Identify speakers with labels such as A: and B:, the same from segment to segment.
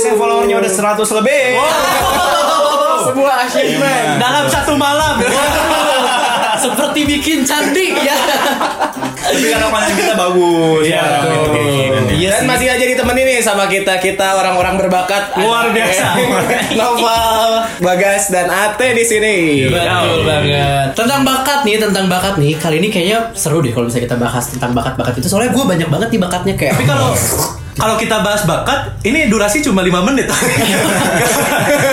A: yang followernya udah 100 lebih. Iya.
B: Sebuah achievement.
C: dalam satu malam seperti bikin candi ya
A: Tapi karena konten kita bagus.
C: Iya,
A: Sekarang
C: betul.
A: gitu, kayak gini.
C: Iya
B: Dan
C: sih.
B: masih aja ditemenin nih sama kita kita orang-orang berbakat
C: Luar biasa.
A: Iya.
B: Novel, Bagas dan Ate di sini.
A: Iya.
C: Betul banget. Tentang bakat nih, tentang bakat nih. Kali ini kayaknya seru deh kalau misalnya kita bahas tentang bakat-bakat itu. Soalnya gue banyak banget nih bakatnya kayak.
D: Tapi kalau kalau kita bahas bakat, ini durasi cuma 5 menit.
C: eh,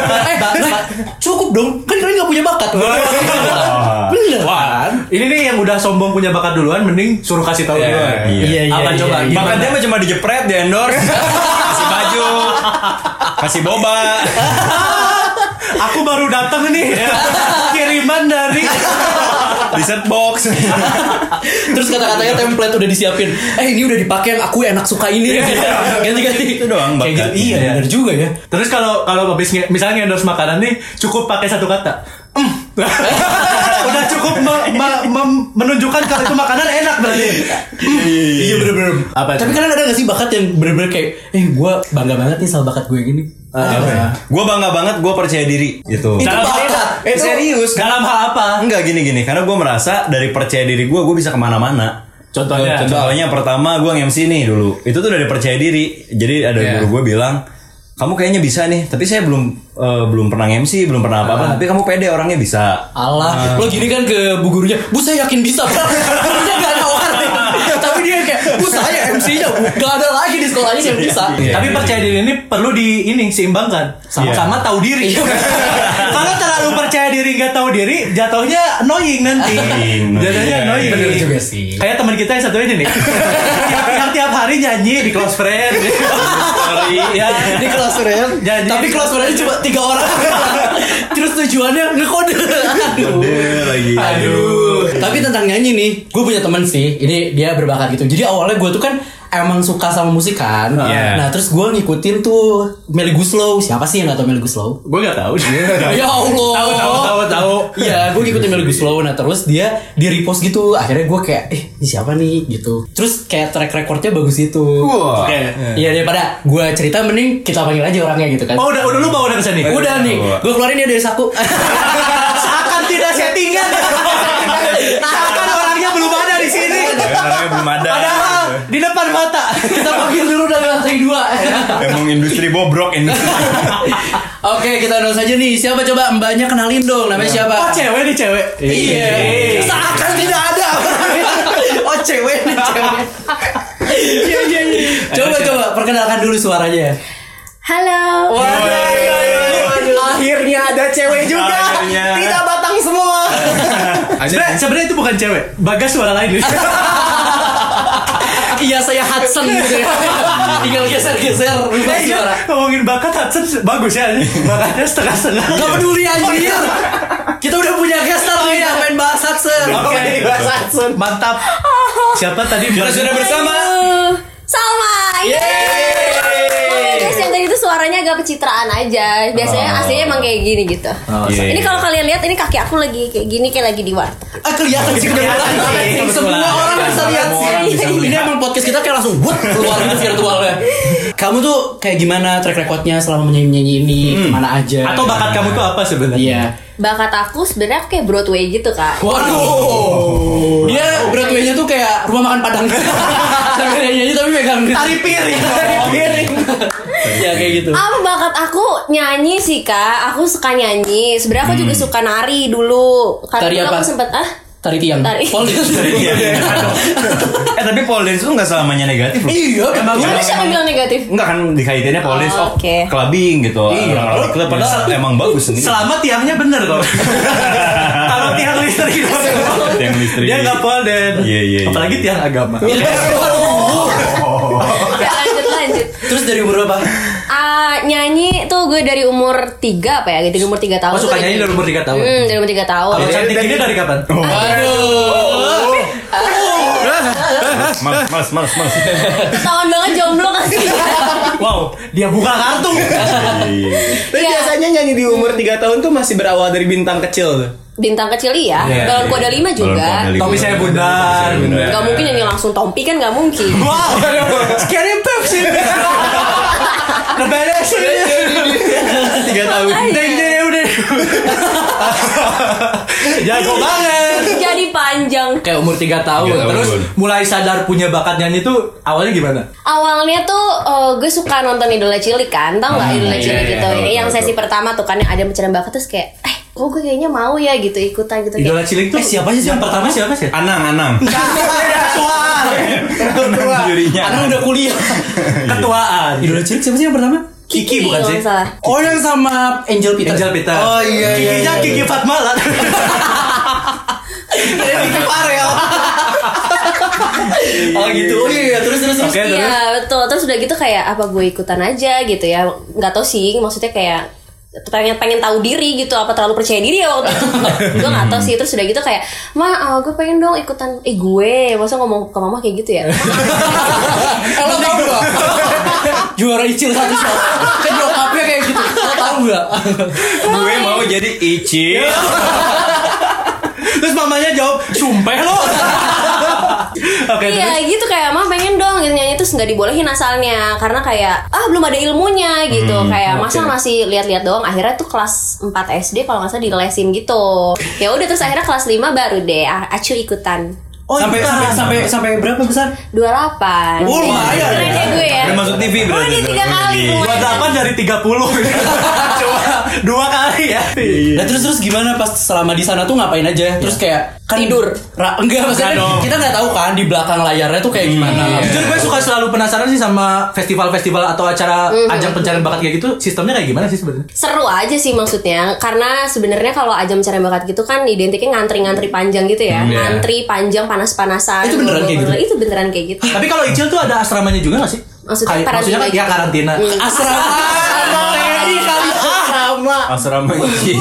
C: ba- ba- cukup dong. Kan kalian nggak punya bakat. Bener.
D: Wah, ini nih yang udah sombong punya bakat duluan, mending suruh kasih tahu duluan.
A: Iya.
D: Apa coba?
C: iya.
A: Bahkan
D: Gimana?
A: dia mah cuma dijepret, di endorse, kasih baju, kasih boba.
D: Aku baru datang nih, kiriman dari.
A: di set box
C: Terus kata-katanya template udah disiapin. Eh ini udah dipakai yang aku enak suka ini. Ganti-ganti.
A: Itu doang
C: Kayak
A: bakat.
C: gitu. Iya,
A: Iya.
C: bener juga ya.
D: Terus kalau kalau habis nge- misalnya endorse makanan nih, cukup pakai satu kata. "Mm." udah cukup me- me- mem- menunjukkan kalau itu makanan enak berarti.
C: Iya bener-bener.
D: Apa itu?
C: Tapi kalian ada gak sih bakat yang bener-bener kayak, eh gue bangga banget nih sama bakat gue yang ini.
A: gue bangga banget gue percaya diri gitu
C: Itu bakat.
A: eh serius
D: Dalam hal apa?
A: enggak gini gini karena gue merasa dari percaya diri gue gue bisa kemana-mana
D: Contohnya.
A: Contohnya pertama gue nge-MC nih dulu Itu tuh dari percaya diri Jadi ada guru gue bilang Kamu kayaknya bisa nih Tapi saya belum eh, belum pernah MC Belum pernah apa-apa Tapi kamu pede orangnya bisa
C: Allah, lo gini kan ke bu gurunya, bu saya yakin bisa. Gurunya gak nawar nih. Tapi dia kayak, bu saya MC-nya, bu. gak ada lagi di sekolahnya yang bisa.
A: Iya.
D: Tapi percaya diri ini perlu di ini seimbangkan sama-sama tahu diri.
C: Iya.
D: Kalau terlalu percaya diri nggak tahu diri, jatuhnya annoying nanti.
A: Annoying,
D: jatuhnya
A: iya.
D: annoying.
C: Bener juga sih.
D: Kayak teman kita yang satu ini nih. yang, yang tiap hari nyanyi di close friend. Sorry. Ya.
C: Di kelas rem,
D: Jadi-
C: tapi kelas remnya cuma tiga orang. Terus tujuannya ngekode. Aduh.
A: Pede lagi
C: Aduh. Tapi tentang nyanyi nih, gue punya temen sih. Ini dia berbakat gitu. Jadi awalnya gue tuh kan emang suka sama musik kan.
A: Iya.
C: Nah terus gue ngikutin tuh Melly Guslow. Siapa sih yang gak tau Melly Guslow?
D: Gue nggak tahu.
C: ya Allah.
D: Tahu tahu tahu tahu.
C: Iya, gue ngikutin Melly Guslow. Nah terus dia di repost gitu. Akhirnya gue kayak, eh ini siapa nih gitu. Terus kayak track recordnya bagus itu.
A: Wah.
D: Oke.
C: Iya daripada gue cerita mending kita panggil aja orangnya gitu kan.
D: Oh iya, udah udah lu bawa udah kesini.
C: Udah nih, gue keluarin dia dari saku.
D: Seakan tidak settingan. Seakan orangnya belum ada di sini.
A: Ya, orangnya belum ada
D: Padahal
A: gitu.
D: di depan mata.
C: kita panggil dulu dari lantai dua.
A: Emang industri bobrok industri
C: Oke, kita nol saja nih. Siapa coba mbaknya kenalin dong namanya siapa?
D: Oh cewek nih cewek.
C: Iya. Seakan tidak ada. oh cewek nih cewek. Iya iya iya. Coba coba perkenalkan dulu suaranya.
E: Halo.
B: Akhirnya ada cewek juga.
A: Akhirnya.
B: Tidak batang semua.
D: Sebenarnya sebenarnya itu bukan cewek. Bagas suara lain.
C: Iya saya Hudson gitu ya. Tinggal geser-geser rubah
D: Eh, iya,
C: suara.
D: ngomongin bakat Hudson se- bagus ya. Bakatnya setengah-setengah.
C: Gak peduli anjir. Kita udah punya gestar nih yang main bahas Hudson.
D: Oke.
B: Bahasa Sun.
D: Mantap. Siapa tadi?
A: Kita sudah bersama
E: Halo. Salma. Tapi
C: Yeay.
E: guys yang tadi itu suaranya agak pencitraan aja. Biasanya
D: Oh.
E: aslinya emang kayak gini gitu.
A: Iya.
E: Ini kalau kalian lihat ini kaki aku lagi kayak gini kayak lagi di warteg.
C: Ah kelihatan sih
D: Kelihatan sih,
C: kelihatan. Semua
D: kebetulan.
C: orang bisa
A: Semua
C: lihat
A: orang
C: sih.
A: bisa
C: Ini
A: melihat.
C: emang podcast kita kayak langsung wut keluar gitu sekarang tualnya. Kamu tuh kayak gimana track recordnya selama menyanyi-nyanyi ini kemana aja?
D: Atau bakat kamu tuh apa sebenarnya?
C: Iya.
E: Bakat aku sebenarnya aku kayak Broadway gitu kak.
C: Waduh. Dia Broadway-nya tuh kayak rumah makan Padang. Sambil nyanyi tapi megang
D: Tari piring. Tari piring.
C: ya kayak gitu.
E: Apa bakat aku nyanyi sih kak? Aku suka nyanyi. Sebenarnya aku juga
D: Hmm.
E: suka nari dulu. Karena
C: Tari
E: dulu
C: apa?
E: aku sempet ah
C: Tari tiang.
E: Tari.
C: Poli.
A: Iya, iya. Eh tapi pole dance tuh nggak selamanya negatif loh.
C: Iya, emang
E: Tapi siapa bilang negatif?
A: Enggak kan dikaitinnya pole dance oh,
E: Oh, oke.
A: clubbing gitu.
C: Iya.
A: Orang-orang di club, padahal emang bagus nih.
D: Selama tiangnya bener kok. Kalau tiang listrik doang.
A: Tiang listrik.
D: Dia nggak polden.
A: Iya, iya, iya.
D: Apalagi tiang agama. Oh.
E: Ya, lanjut lanjut.
C: Terus dari umur berapa?
E: Ah, nyanyi tuh gue dari umur 3 apa ya? Dari umur 3 tahun.
D: Oh, suka
E: tuh
D: nyanyi dari umur 3 tahun?
E: Hmm, dari umur 3 tahun.
D: Kalau cantik ini dari kapan?
C: Waduh.
A: Males, males, males, males.
E: Ketahuan banget jomblo kan
B: Iya.
E: sih.
D: Wow, dia buka kartu.
A: Iya.
B: Tapi
E: Iya.
B: biasanya nyanyi di umur 3 tahun tuh masih berawal dari bintang kecil tuh.
E: Bintang kecil iya,
A: Iya,
E: Balon
A: iya.
E: Kuda 5 juga.
A: Balon Kuda
D: Tommy saya Ya, bundar.
A: Bundar.
E: Gak mungkin nyanyi langsung Tompi kan gak mungkin.
D: Wow, scary Pepsi. udah beres
C: Iya,
B: tiga tahun
D: deng deng udah jago banget
A: Iya.
E: Jadi panjang.
D: kayak umur 3 tahun
A: Tiga tahun.
D: terus mulai sadar punya bakat nyanyi tuh awalnya gimana
E: Awalnya tuh eh, gue suka nonton Idola Cilik kan, tau nggak Idola
A: iya,
E: Cilik
A: iya,
E: gitu?
A: tahu, tahu,
E: yang
A: tahu.
E: sesi pertama tuh kan yang ada mencari bakat terus kayak, eh, oh gue kayaknya mau ya gitu ikutan gitu.
D: idola
E: Kayak,
D: cilik tuh siapa sih yang pertama siapa sih
A: Anang, Anang.
C: Ketua.
A: Jurinya. Iya.
C: Karena udah kuliah.
D: ketuaan
C: Idola cilik siapa sih yang pertama?
D: Kiki bukan
E: kalau
D: sih
E: nggak Salah.
C: Oh yang sama Angel Peter.
D: Angel Peter
C: Oh iya iya.
D: Kikinya
C: iya.
D: Kiki Fatmala
C: Ada Kiki Farel. oh gitu. Oh iya iya. terus terus. terus.
D: Oke. terus?
E: Iya betul. Terus udah gitu kayak apa gue ikutan aja gitu ya? Nggak tau sih. Maksudnya kayak pengen pengen tahu diri gitu apa terlalu percaya diri ya waktu itu gue nggak tahu sih terus udah gitu kayak ma eh, gue pengen dong ikutan eh gue masa ngomong ke mama kayak gitu ya
C: Eh lo tau gak? Juara Icil satu satu. Kan nyokapnya kayak gitu. Lo tau gak?
A: Gue mau jadi Ici.
D: Iya, terus mamanya jawab sumpah lo oke terus
E: Iya gitu kayak mah pengen dong gitu nyanyi terus nggak dibolehin asalnya karena kayak ah belum ada ilmunya gitu
D: Hmm,
E: kayak masa masih lihat-lihat doang akhirnya tuh kelas 4 SD kalau nggak salah dilesin gitu ya udah terus akhirnya kelas 5 baru deh A- acu ikutan
C: Oh,
D: Sampai-
C: sampai, sampai sampai sampai berapa besar?
E: 28
C: Oh, lumayan.
E: Keren ya gue ya
A: Udah masuk TV
E: Oh
A: berarti.
E: ini tiga kali gue
D: buat apa dari 30 coba dua kali ya
F: Iya.
C: Nah terus terus gimana pas selama di sana tuh ngapain aja? Terus kayak kan
E: Tidur.
C: Ra- enggak maksudnya
D: dong.
C: kita nggak tahu kan di belakang layarnya tuh
F: Iya.
C: kayak gimana.
D: Jujur gue suka selalu penasaran sih sama festival-festival atau acara ajang pencarian bakat kayak gitu sistemnya kayak gimana sih sebenarnya?
E: seru aja sih maksudnya karena sebenarnya kalau ajang mencari bakat gitu kan identiknya ngantri-ngantri panjang gitu
A: iya.
E: ya ngantri panjang panas-panasan
C: Itu beneran kayak gitu?
E: itu beneran kayak gitu
D: Tapi kalau Icil tuh ada asramanya juga gak sih? Kayak-
E: Maksudnya karantina
D: maksudnya kan
E: gitu.
D: dia karantina.
E: Hmm.
C: Asrama. Ah, Tadi kali asrama.
A: Asrama Iya. Ici.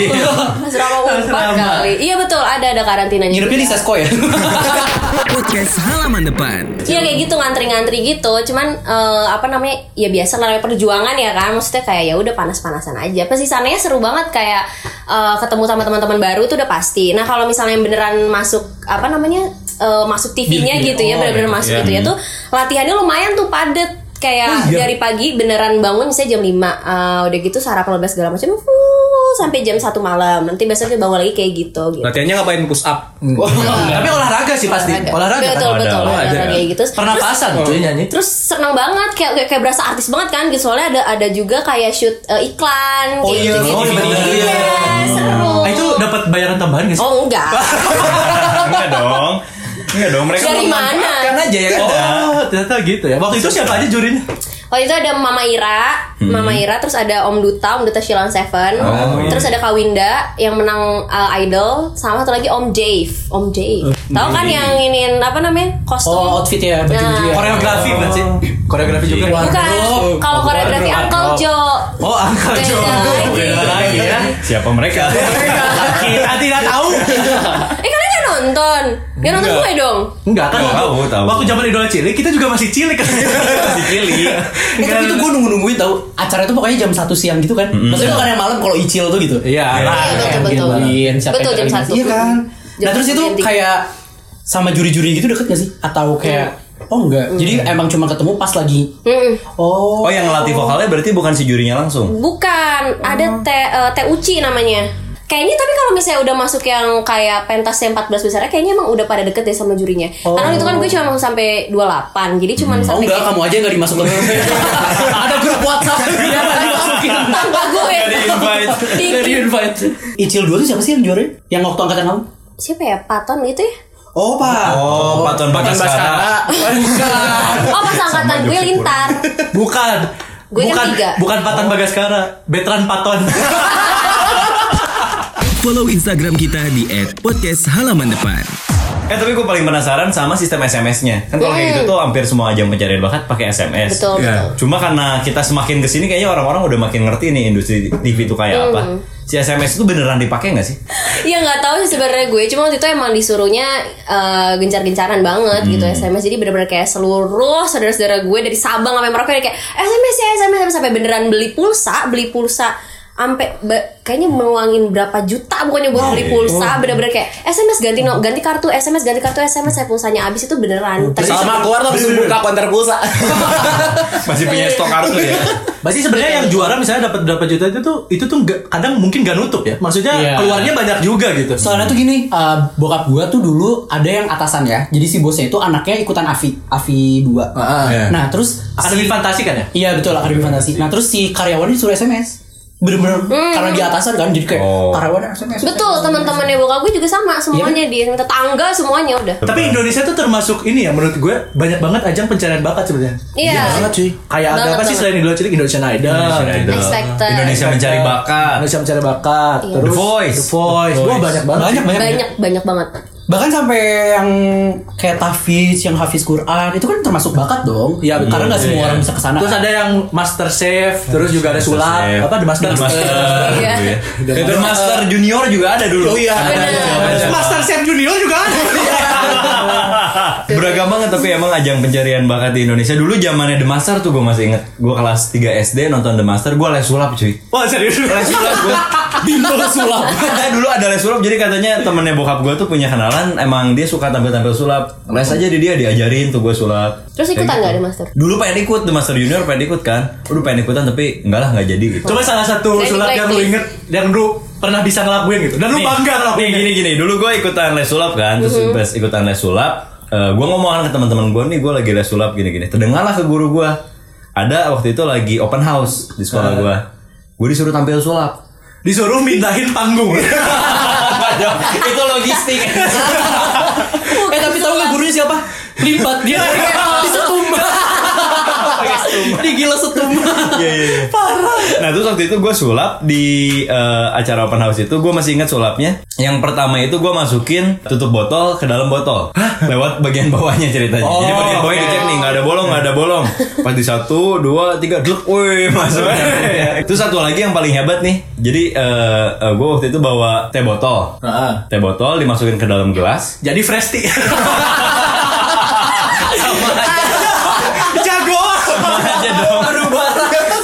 E: Asrama Unpad
D: Asrama.
E: kali. Iya betul, ada ada karantinanya.
C: Nyirupnya di
E: juga.
C: Sesko ya.
F: Podcast halaman depan.
E: Iya kayak gitu ngantri-ngantri gitu. Cuman eh, apa namanya? Ya biasa lah namanya perjuangan ya kan. Maksudnya kayak ya udah panas-panasan aja. Pesisannya seru banget kayak eh, ketemu sama teman-teman baru itu udah pasti. Nah, kalau misalnya yang beneran masuk apa namanya? eh, masuk TV-nya
D: Iya, oh,
E: gitu ya, bener-bener masuk gitu ya tuh latihannya lumayan tuh padet
D: Oh,
E: kayak
D: iya.
E: dari pagi beneran bangun misalnya jam 5 eh, udah gitu sarapan lepas segala macam fuh, sampai jam 1 malam nanti besoknya bangun lagi kayak gitu gitu
B: latihannya ngapain push up
D: Tapi olahraga sih pasti. Olahraga.
E: betul
D: kan?
E: betul
A: Ada,
E: olahraga
D: ada.
E: kayak gitu
D: Pernah
E: terus,
D: pasan cuy nyanyi.
E: terus seneng banget kayak kayak, kayak berasa artis banget kan gitu soalnya ada ada juga kayak shoot eh, iklan
C: Oh
E: kayak
C: iya,
E: gitu,
D: oh iya, bener.
E: seru
D: Nah, itu dapat bayaran tambahan gak sih?
E: oh enggak
A: Enggak dong. Enggak dong, mereka
E: dari mana
C: Kan aja ya.
D: Oh, ternyata gitu ya. Waktu itu siapa aja jurinya?
E: Waktu itu ada Mama Ira,
D: Hmm.
E: Mama Ira, terus ada Om Duta, Om Duta Shilon Seven,
D: Oh, iya.
E: terus ada Kawinda yang menang uh, Idol, sama satu lagi Om Dave, Om Dave.
D: Oh,
E: Tahu kan yang ingin apa namanya kostum? Nah,
C: Oh outfitnya baju-baju ya.
D: Koreografi bukan sih? Koreografi juga.
E: Bukan. Kalau koreografi Uncle Joe.
D: Oh, angka
E: Beda
D: Jo.
E: lagi.
D: Beda lagi ya.
A: Siapa mereka?
D: Kita tidak tahu.
E: Eh kalian gak nonton? Gak nonton gue dong?
D: Enggak kan?
A: Tahu,
D: waktu-
A: tahu.
D: Waktu zaman idola cilik kita juga masih cilik kan. masih cilik.
C: Eh, tapi
A: Kan-
C: itu gue nunggu-nungguin tau acara itu pokoknya jam 1 siang gitu kan Maksudnya bukan yang malam kalau icil tuh gitu
D: Iya.
E: Iya,
D: nah,
C: Kayak
E: betul, betul.
C: gituin, siapa
E: Betul,
C: yang
E: jam
C: terima-
E: satu.
C: Iya kan
E: Jam
C: Nah terus itu
E: ganti.
C: kayak sama juri-juri gitu deket gak sih? Atau kayak
E: Mm.
C: Oh enggak Jadi emang cuma ketemu pas lagi
E: Mm-mm.
C: Oh
A: Oh, yang ngelatih vokalnya berarti bukan si jurinya langsung.
E: Bukan, ada teh eh, teh uci namanya. Kayaknya tapi kalau misalnya udah masuk yang kayak pentas yang 14 besarnya kayaknya emang udah pada deket deh sama jurinya. Karena itu kan gue cuma mau sampai 28. Jadi cuma
C: Oh
E: sampai
C: enggak
E: kayak-
C: kamu aja enggak dimasukin Ada grup WhatsApp Dia enggak dimasukin
E: tanpa gue.
C: Enggak di invite Icil 2 tuh siapa sih yang juara? Yang waktu angkatan kamu?
E: Siapa ya? Paton gitu ya?
C: Oh pak
A: Oh, Paton Bagaskara.
C: Bukan
E: Oh, pas angkatan gue lintar.
D: Bukan.
E: Gue yang
D: bukan,
E: tiga.
D: bukan Patan Bagaskara, Betran Paton.
F: Follow Instagram kita di @podcast halaman depan.
A: Eh, tapi gue paling penasaran sama sistem SMS-nya. Kan
E: Iya.
A: kalau kayak
E: Hmm.
A: gitu tuh hampir semua ajang pencarian bakat pakai SMS.
E: Betul,
A: Iya.
E: betul.
A: Cuma karena kita semakin kesini kayaknya orang-orang udah makin ngerti nih industri TV itu kayak apa.
E: Hmm.
A: Si SMS itu beneran dipakai nggak sih?
E: Iya nggak tahu sih sebenarnya gue, cuma waktu itu emang disuruhnya eh, gencar-gencaran banget gitu
G: Hmm.
E: SMS. Jadi bener-bener kayak seluruh saudara-saudara gue dari Sabang sampai Merauke kayak SMS ya SMS sampai beneran beli pulsa, beli pulsa ampe ba- kayaknya meluangin berapa juta bukannya
G: Iya,
E: buat beli
G: Oh.
E: pulsa bener-bener kayak SMS ganti no- ganti kartu SMS ganti kartu SMS saya pulsanya habis itu
G: Oh,
E: beneran Tapi-
B: Eh, Sama keluar langsung buka konter pulsa.
A: Masih punya stok kartu ya.
D: Pasti sebenarnya yang juara misalnya dapat berapa juta itu tuh itu tuh nggak- kadang mungkin gak nutup ya. Maksudnya
G: Iya.
D: keluarnya banyak juga gitu.
G: Soalnya tuh gini, eh, bokap gua tuh dulu ada yang atasan ya. Jadi si bosnya itu anaknya ikutan Avi, Avi 2.
A: Iya.
G: Nah, terus si-
D: Akademi fantasi kan ya?
G: Iya betul akademi fantasi. Nah terus si karyawan disuruh SMS. Bener-bener karena di atasan kan jadi kayak
A: Oh.
G: karyawan SMS.
E: betul teman-temannya bokap gue juga sama semuanya
G: Iya.
E: di tetangga semuanya udah
D: Tapi Indonesia tuh termasuk ini ya menurut gue banyak banget ajang pencarian bakat sebenarnya.
E: iya
D: Kayak ada
E: Banget,
D: apa sih
E: banget.
D: selain Indonesia Indonesian Idol?
E: Next Factor.
A: Indonesia mencari bakat.
D: Indonesia mencari bakat.
E: Iya.
D: Terus
A: The Voice.
D: The Voice.
A: The
D: Wah
A: Voice.
D: banyak banget.
G: Banyak banyak.
E: banyak banyak banget
G: Bahkan sampai yang kayak tahfiz, yang hafiz Quran itu kan termasuk bakat dong. Ya,
D: Iya, betul.
G: Karena nggak semua
A: Iya.
G: orang bisa kesana.
D: Terus ada yang Master Chef, terus juga ada sulap, apa The Master.
E: Iya.
A: The Master. The Master Junior juga ada dulu. Oh iya.
E: bener
D: Master Chef Junior juga ada.
A: Ah, Beragam banget tapi emang ajang pencarian bakat di Indonesia dulu zamannya The Master tuh gue masih inget gue kelas 3 SD nonton The Master gue les sulap cuy
D: Wah serius.
A: les sulap gue
G: sulap.
A: dulu ada les sulap jadi katanya temennya bokap gue tuh punya kenalan emang dia suka tampil-tampil sulap les aja di dia diajarin tuh gue sulap
E: terus
A: Kayak
E: ikutan
A: gitu.
E: nggak ada master
A: dulu pengen ikut The Master Junior pengen ikut kan udah pengen ikutan tapi enggak lah nggak jadi
E: Oh,
A: gitu
D: Coba salah satu
E: Saya
D: sulap
E: di
D: yang lu
E: blacklist.
D: inget, yang lu pernah bisa ngelakuin gitu. Dan lu bangga
A: Nih
D: ngelakuin.
A: gini gini dulu gue ikutan les sulap kan terus pas ikutan les sulap eh, gue ngomong kan ke teman-teman gue nih gue lagi les sulap gini gini terdengarlah ke guru gue ada waktu itu lagi open house di sekolah gue gue disuruh tampil sulap
D: Disuruh mindahin panggung.
A: itu logistik
G: eh tapi tahu nggak gurunya siapa? Limbat
D: Iya.
G: dia. di setum. Dia gila setum.
A: Iya iya iya. Nah terus waktu itu gue sulap di eh, acara open house itu gue masih ingat sulapnya. Yang pertama itu gue masukin tutup botol ke dalam botol lewat bagian bawahnya ceritanya. Jadi bagian bawahnya dicek nih nggak ada bolong nggak ada bolong. Pas di satu dua tiga gluk, woi masuk. terus satu lagi yang paling hebat nih. Jadi gue waktu itu bawa teh botol. Teh botol dimasukin ke dalam gelas.
D: Jadi fresh tea. Sama aja. Jago.
A: aja Iya dong.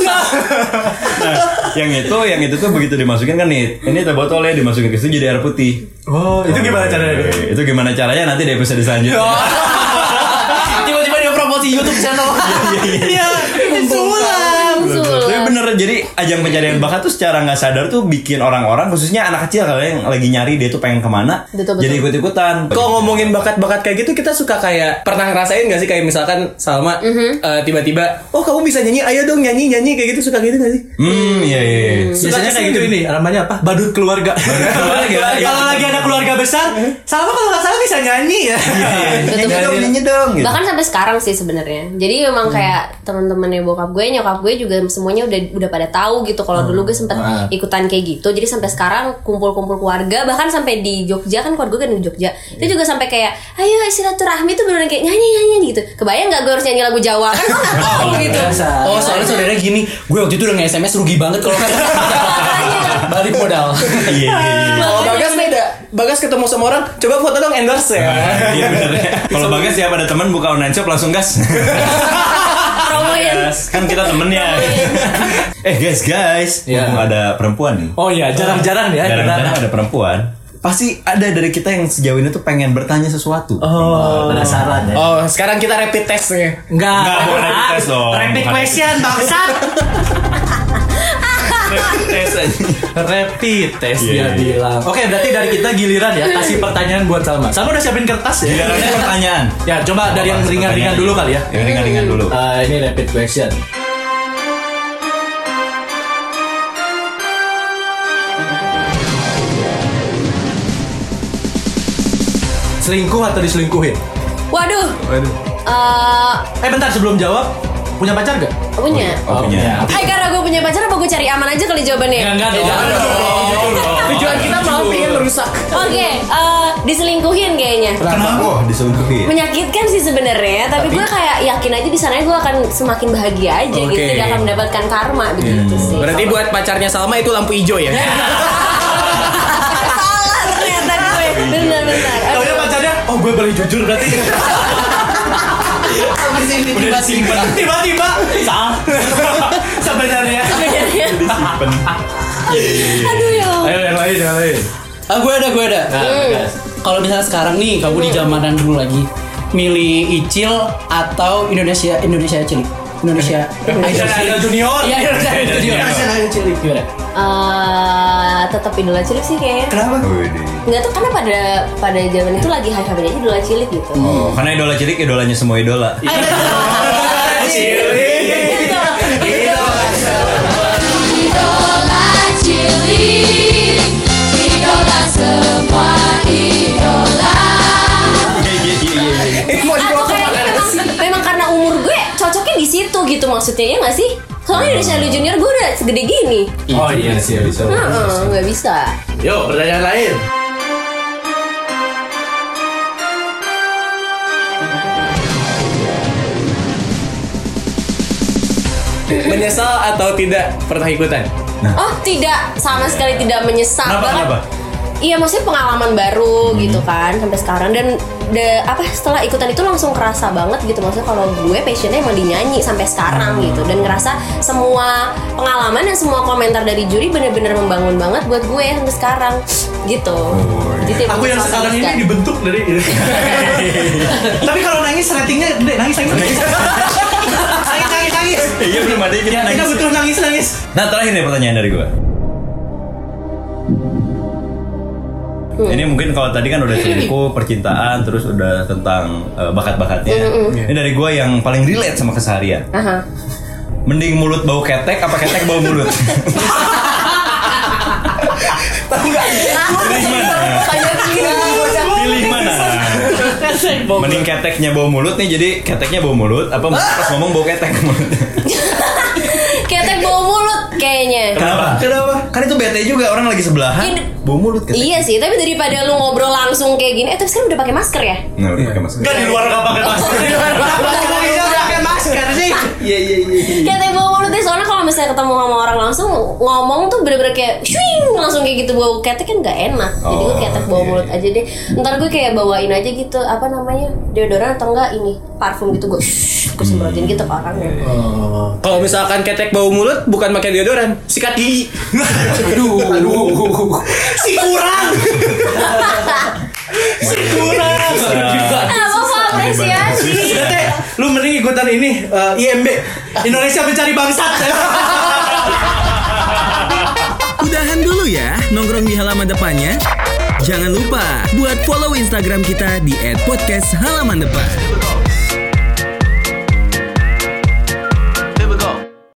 A: Nah, yang itu yang itu tuh begitu dimasukin kan nih ini teh botolnya dimasukin ke situ jadi air putih
D: Oh, itu gimana caranya? Ya,
A: Eh, itu gimana caranya nanti di episode selanjutnya
G: Tiba-tiba dia promosi YouTube channel. Iya.
E: sulam
A: tapi
E: sulam
A: bener jadi ajang pencarian bakat tuh secara nggak sadar tuh bikin orang-orang khususnya anak kecil kalau yang lagi nyari dia tuh pengen kemana
E: Betul, betul.
A: jadi ikut-ikutan
B: Kok ngomongin bakat-bakat kayak gitu kita suka kayak pernah ngerasain gak sih kayak misalkan Salma
D: Mhm.
B: eh, tiba-tiba oh kamu bisa nyanyi ayo dong nyanyi nyanyi kayak gitu suka gitu gak sih?
A: hmm iya iya iya.
D: Biasanya kayak gitu ini, namanya apa? Badut keluarga.
A: keluarga.
D: kalau lagi
B: Iya.
D: ada keluarga besar,
B: Mhm.
D: sama kalau nggak salah bisa nyanyi ya.
A: nyanyi dong
E: Betul, betul.
A: nyanyi dong gitu. Hmm.
E: bahkan sampai sekarang sih sebenarnya jadi memang kayak teman-temannya bokap gue nyokap gue juga semuanya udah udah pada tahu gitu
A: Hmm.
E: kalau dulu gue sempet ikutan kayak gitu jadi sampai sekarang kumpul-kumpul keluarga bahkan sampai di Jogja kan keluarga gue kan di Jogja itu
A: Iya.
E: juga sampai kayak ayo silaturahmi tuh beneran kayak nyanyi nyanyi gitu kebayang nggak gue harus nyanyi lagu Jawa kan gue nggak tahu gitu
G: Oh
B: Iya,
G: soalnya saudara gini, gue waktu itu udah nge-SMS rugi banget kalau balik modal.
A: iya iya iya.
B: Kalau Oh, Bagas beda. Bagas ketemu sama orang, coba foto dong endorse ya.
A: iya bener ya. kalau bagas siapa ada teman buka online shop langsung gas
E: promoin
A: Gas. kan kita temennya
E: Iya.
A: eh guys guys
D: Iya.
A: mumpung ada perempuan nih
D: Oh iya, jarang-jarang ya.
A: Kadang-kadang ada perempuan pasti ada dari kita yang sejauh ini tuh pengen bertanya sesuatu. Oh,
D: penasaran ya.
B: Oh, sekarang kita rapid test ya. nih.
D: Enggak,
A: Nggak boleh dites dong.
D: Rapid
A: Bukan.
D: question bangsat.
A: tes aja.
D: Rapid test
A: Iya, iya.
D: dia bilang. Oke, berarti dari kita giliran ya kasih pertanyaan buat Salma. Salma udah siapin kertas ya?
A: Gilirannya pertanyaan.
D: Ya, coba dari
A: Apa,
D: yang
A: pertanyaan
D: ringan-ringan dulu kali ya.
A: Yang ringan-ringan dulu.
D: Eh, ini rapid question. Selingkuh atau diselingkuhin?
E: waduh
A: Waduh.
E: eh
D: Eh bentar sebelum jawab, punya pacar gak?
E: punya
A: Oh, punya.
E: Hai karena gue punya pacar apa gue cari aman aja kali
G: Eh,
E: jawabannya
D: Enggak dong.
B: Eh, Tujuan kita mau pengen merusak.
E: Oke, eh, diselingkuhin kayaknya.
D: Eh,
A: Kenapa? Oh, diselingkuhi.
E: menyakitkan sih sebenarnya tapi, gue kayak yakin aja di sana gue akan semakin bahagia aja gitu
B: Oke.
E: tidak akan mendapatkan karma begitu sih
B: Berarti buat pacarnya Salma itu lampu hijau ya.
G: Iya.
E: salah ternyata gue benar-benar
D: Taunya pacarnya, oh gue boleh jujur berarti.
G: Tiba-tiba
D: Tiba-tiba, salah. Sebenarnya.
E: Sebenarnya. Aduh ya. Allah.
D: Ayo yang lain, yang lain.
G: Ah, gue ada, gue
C: Eh,
G: ada. Kalau misalnya sekarang nih, kamu di zamanan dulu lagi, milih Icil atau Indonesia Indonesia Cilik? Indonesia Indonesia
D: Idol Junior.
G: Iya, Indonesia Idol Junior. Indonesia Idol Cilik. Gimana?
E: Eh, tetap idola cilik sih kayaknya.
G: Kenapa?
E: Nggak tuh karena pada pada zaman itu lagi high high aja idola cilik gitu.
A: Oh, karena idola cilik idolanya semua idola.
H: Idola cilik, idola semua idola.
A: Iya iya iya iya.
E: Mau dibawa memang, memang karena umur gue cocoknya di situ gitu maksudnya ya nggak sih? Soalnya Indonesia Idol Junior gue udah segede gini.
D: Oh iya sih bisa.
E: Heeh, Hmm, nggak bisa.
B: Yuk, pertanyaan lain. Menyesal atau tidak pernah ikutan?
E: Oh tidak, sama sekali tidak menyesal.
A: Kenapa,
E: Bahkan-
A: kenapa?
E: Iya maksudnya pengalaman baru gitu kan sampai sekarang dan de, apa setelah ikutan itu langsung kerasa banget gitu maksudnya kalau gue passionnya emang dinyanyi sampai sekarang gitu dan ngerasa semua pengalaman dan semua komentar dari juri bener-bener membangun banget buat gue sampai sekarang gitu. Gitu ya,
D: Aku yang
E: sama
D: sekarang
E: sekali.
D: ini dibentuk dari Tapi kalau nangis ratingnya gede, nangis nangis. Nangis nangis nangis. nangis.
A: Iya belum ada yang kita
D: Kita
A: nangis.
D: butuh nangis nangis.
A: Nah terakhir nih pertanyaan dari gue. Ini mungkin kalau tadi kan udah selingkuh, percintaan, terus udah tentang eh, bakat-bakatnya. Ini dari gue yang paling relate sama keseharian.
E: Aha.
A: Mending mulut bau ketek apa ketek bau mulut? Pilih mana? Pilih mana? Mending keteknya bau mulut Ah! nih, jadi keteknya bau mulut apa mulut pas ngomong bau ketek mulut?
E: Ketek bau mulut kayaknya.
A: Kenapa? Kenapa? Kan itu bete juga orang lagi sebelahan.
E: Ini-
A: Bau mulut ketek.
E: Iya sih, tapi daripada lu ngobrol langsung kayak gini, eh tapi sekarang udah pakai masker ya?
A: Nah, udah pakai masker.
D: Kan di luar nggak pakai masker.
A: Hmm.
E: Kayak teh bau mulut deh, soalnya kalau misalnya ketemu sama orang langsung ngomong tuh bener-bener kayak swing langsung kayak gitu bau ketek kan nggak enak. Jadi gue
A: Oh,
E: ketek bau
A: iya,
E: mulut aja deh. Ntar gue kayak bawain aja gitu apa namanya deodoran atau enggak ini parfum gitu gue shhh, gue semprotin gitu ke orangnya.
A: Oh.
B: Kalau misalkan ketek bau mulut bukan pakai deodoran, sikat gigi.
G: Aduh.
B: Si kurang. si kurang.
E: Ah, apa apresiasi?
D: Udah, Teh. Lu mending ikutan ini eh, IMB Indonesia Mencari Bangsat.
F: Udahan dulu ya nongkrong di halaman depannya. Jangan lupa buat follow Instagram kita di @podcast halaman depan.